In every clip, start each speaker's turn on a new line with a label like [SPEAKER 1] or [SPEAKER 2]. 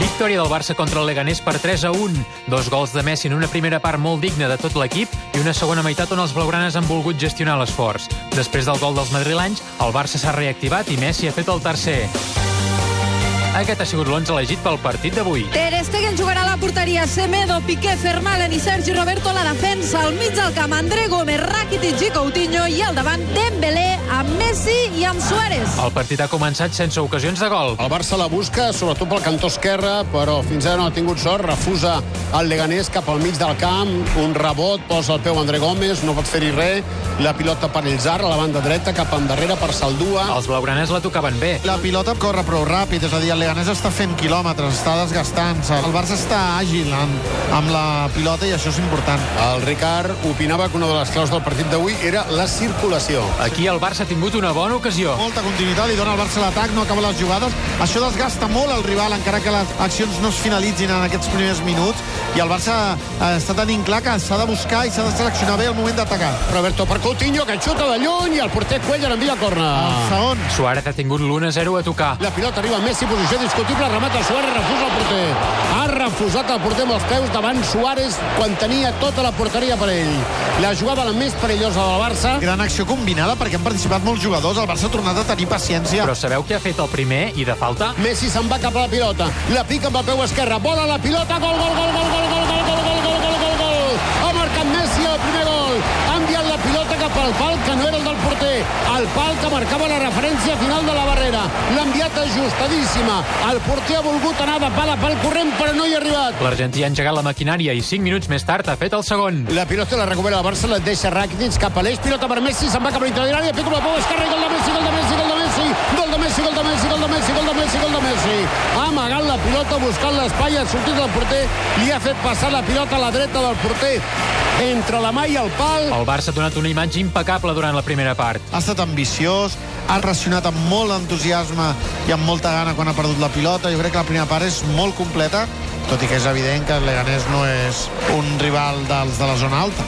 [SPEAKER 1] Victòria del Barça contra el Leganés per 3 a 1. Dos gols de Messi en una primera part molt digna de tot l'equip i una segona meitat on els blaugranes han volgut gestionar l'esforç. Després del gol dels madrilenys, el Barça s'ha reactivat i Messi ha fet el tercer. Aquest ha sigut l'11 elegit pel partit d'avui.
[SPEAKER 2] Ter Stegen jugarà a la porteria Semedo, Piqué, Fermalen i Sergi Roberto a la defensa, al mig del camp André Gómez, Rakitic i Coutinho i al davant Dembélé amb Messi i amb Suárez.
[SPEAKER 1] El partit ha començat sense ocasions de gol.
[SPEAKER 3] El Barça la busca, sobretot pel cantó esquerre, però fins ara no ha tingut sort. Refusa el Leganés cap al mig del camp. Un rebot, posa el peu André Gómez, no pot fer-hi res. La pilota per Ilzar, a la banda dreta, cap endarrere per Saldua.
[SPEAKER 1] Els blaugranes la tocaven bé.
[SPEAKER 4] La pilota corre prou ràpid, és a dir, el Leganés està fent quilòmetres, està desgastant-se. El Barça està àgil amb, amb la pilota i això és important.
[SPEAKER 3] El Ricard opinava que una de les claus del partit d'avui era la circulació.
[SPEAKER 1] Aquí el Barça ha tingut una bona ocasió.
[SPEAKER 4] Molta continuïtat, li dona el Barça l'atac, no acaba les jugades. Això desgasta molt el rival, encara que les accions no es finalitzin en aquests primers minuts. I el Barça eh, està tenint clar que s'ha de buscar i s'ha de seleccionar bé el moment d'atacar.
[SPEAKER 3] Roberto per Coutinho, que xuta de lluny i el porter Cuellar envia corna.
[SPEAKER 4] El segon,
[SPEAKER 1] Suárez ha tingut l'1-0 a tocar.
[SPEAKER 3] La pilota arriba a Messi, posició discutible, remata Suárez, refusa el porter. Ha refusat el porter amb els peus davant Suárez quan tenia tota la porteria per ell. La jugada la més perillosa del Barça.
[SPEAKER 4] gran acció combinada perquè han participat molts jugadors. El Barça ha tornat a tenir paciència.
[SPEAKER 1] Però sabeu què ha fet el primer i de falta?
[SPEAKER 3] Messi se'n va cap a la pilota. La pica amb el peu esquerre. Bola la pilota. Gol, gol, gol, gol, gol, gol, gol, gol, gol, gol, gol, gol, gol. Ha marcat Messi el primer gol. Ha enviat la pilota cap al pal, que no era el del porter. El pal que marcava la referència final de la barrera. L'ha enviat ajustadíssima. El porter ha volgut anar de pal a pal corrent, però no hi ha arribat.
[SPEAKER 1] L'argentí ha engegat la maquinària i 5 minuts més tard ha fet el segon.
[SPEAKER 3] La pilota la recupera el Barça, la deixa Rakitic cap a l'eix, pilota per Messi, se'n va cap a l'interior, pica amb el peu esquerre, i gol de Messi, gol de Messi, gol de Messi, gol de Messi, gol de Messi, gol de Messi, gol de Messi, gol de Messi. Ha amagat la pilota, buscant l'espai, ha sortit del porter, li ha fet passar la pilota a la dreta del porter, entre la mà i el pal.
[SPEAKER 1] El Barça ha donat una imatge impecable durant la primera part.
[SPEAKER 4] ha estat ambiciós, ha reaccionat amb molt entusiasme i amb molta gana quan ha perdut la pilota. Jo crec que la primera part és molt completa, tot i que és evident que el Leganés no és un rival dels de la zona alta.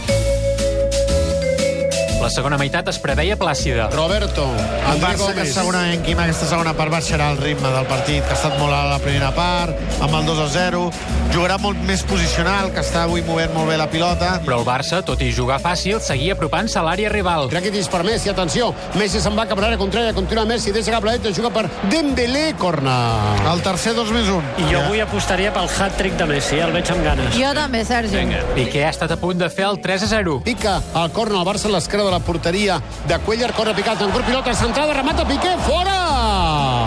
[SPEAKER 1] La segona meitat es preveia plàcida.
[SPEAKER 3] Roberto,
[SPEAKER 4] El
[SPEAKER 3] André
[SPEAKER 4] Barça, que
[SPEAKER 3] Gómez.
[SPEAKER 4] segurament, Quim, aquesta segona part baixarà el ritme del partit, que ha estat molt alt a la primera part, amb el 2-0, jugarà molt més posicional, que està avui movent molt bé la pilota.
[SPEAKER 1] Però el Barça, tot i jugar fàcil, seguia apropant-se a l'àrea rival.
[SPEAKER 3] Rakitic per Messi, atenció. Messi se'n va cap a l'àrea contrària, continua Messi, deixa cap a la dreta, juga per Dembélé, corna.
[SPEAKER 4] El tercer 2 més 1.
[SPEAKER 5] I jo avui apostaria pel hat-trick de Messi, eh? el veig amb ganes.
[SPEAKER 2] Jo també, Sergi. Vinga.
[SPEAKER 1] Piqué ha estat a punt de fer el 3-0.
[SPEAKER 3] Pica el corna al Barça a l'esquerra de la porteria de Cuellar, corre picat en curt, pilota centrada, remata Piqué, fora!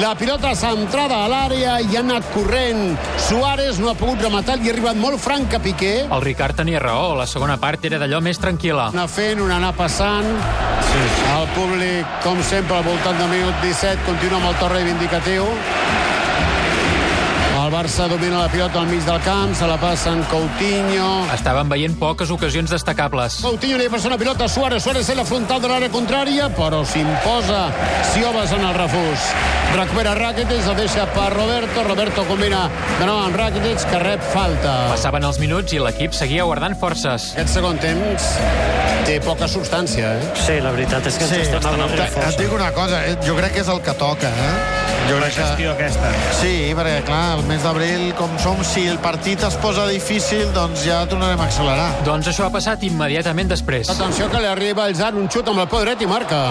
[SPEAKER 3] La pilota centrada a l'àrea i ha anat corrent. Suárez no ha pogut rematar, li ha arribat molt franc a Piqué.
[SPEAKER 1] El Ricard tenia raó, la segona part era d'allò més tranquil·la.
[SPEAKER 3] Anar fent, un anar passant. Sí, sí. El públic, com sempre, al voltant del minut 17, continua amb el to reivindicatiu. El Barça domina la pilota al mig del camp, se la passa en Coutinho,
[SPEAKER 1] Estaven veient poques ocasions destacables.
[SPEAKER 3] Coutinho li passa una pilota a Suárez. Suárez en la frontal de l'àrea contrària, però s'imposa Siobas en el refús. Recupera Rakitic, la deixa per Roberto. Roberto combina de nou amb Rakitic, que rep falta.
[SPEAKER 1] Passaven els minuts i l'equip seguia guardant forces.
[SPEAKER 3] Aquest segon temps té poca substància, eh?
[SPEAKER 5] Sí, la veritat és que ens
[SPEAKER 4] Sí,
[SPEAKER 5] estem avorrint
[SPEAKER 4] et
[SPEAKER 5] força.
[SPEAKER 4] dic una cosa, eh, jo crec que és el que toca, eh? Jo crec que...
[SPEAKER 6] aquesta.
[SPEAKER 4] Sí, perquè, clar, el mes d'abril, com som, si el partit es posa difícil, doncs ja tornarem a accelerar.
[SPEAKER 1] Doncs això ha passat immediatament després.
[SPEAKER 3] Atenció que li arriba el Zan, un xut amb el peu dret i marca.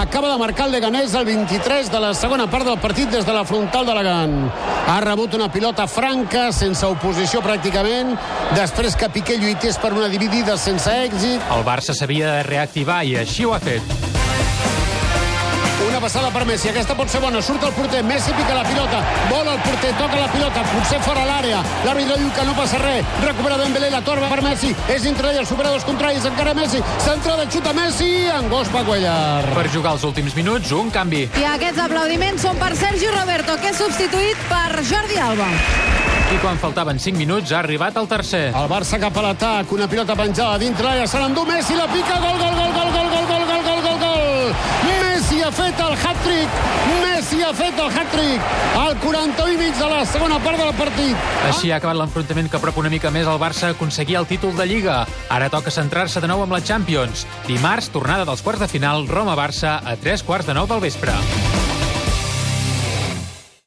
[SPEAKER 3] Acaba de marcar el Leganés el 23 de la segona part del partit des de la frontal de Legan. Ha rebut una pilota franca, sense oposició pràcticament, després que Piqué lluités per una dividida sense èxit.
[SPEAKER 1] El Barça s'havia de reactivar i així ho ha fet.
[SPEAKER 3] Una passada per Messi, aquesta pot ser bona. Surt el porter, Messi pica la pilota, vola el porter, toca la pilota, potser fora l'àrea. L'àrbitre diu que no passa res. Recupera Dembélé, la torba per Messi. És entre ella, supera dos contraris, encara Messi. Centrada, xuta Messi, en gos va Cuellar.
[SPEAKER 1] Per jugar els últims minuts, un canvi.
[SPEAKER 2] I aquests aplaudiments són per Sergi Roberto, que és substituït per Jordi Alba.
[SPEAKER 1] I quan faltaven 5 minuts ha arribat el tercer.
[SPEAKER 3] El Barça cap a l'atac, una pilota penjada dintre l'àrea, se l'endú Messi, la pica, gol, gol, gol, gol, gol, gol, gol, gol, gol, gol, gol. Messi ha fet el hat-trick, Messi ha fet el hat-trick, al 41 i mig de la segona part del partit.
[SPEAKER 1] Així ha acabat l'enfrontament que prop una mica més al Barça aconseguir el títol de Lliga. Ara toca centrar-se de nou amb la Champions. Dimarts, tornada dels quarts de final, Roma-Barça a tres quarts de nou del vespre.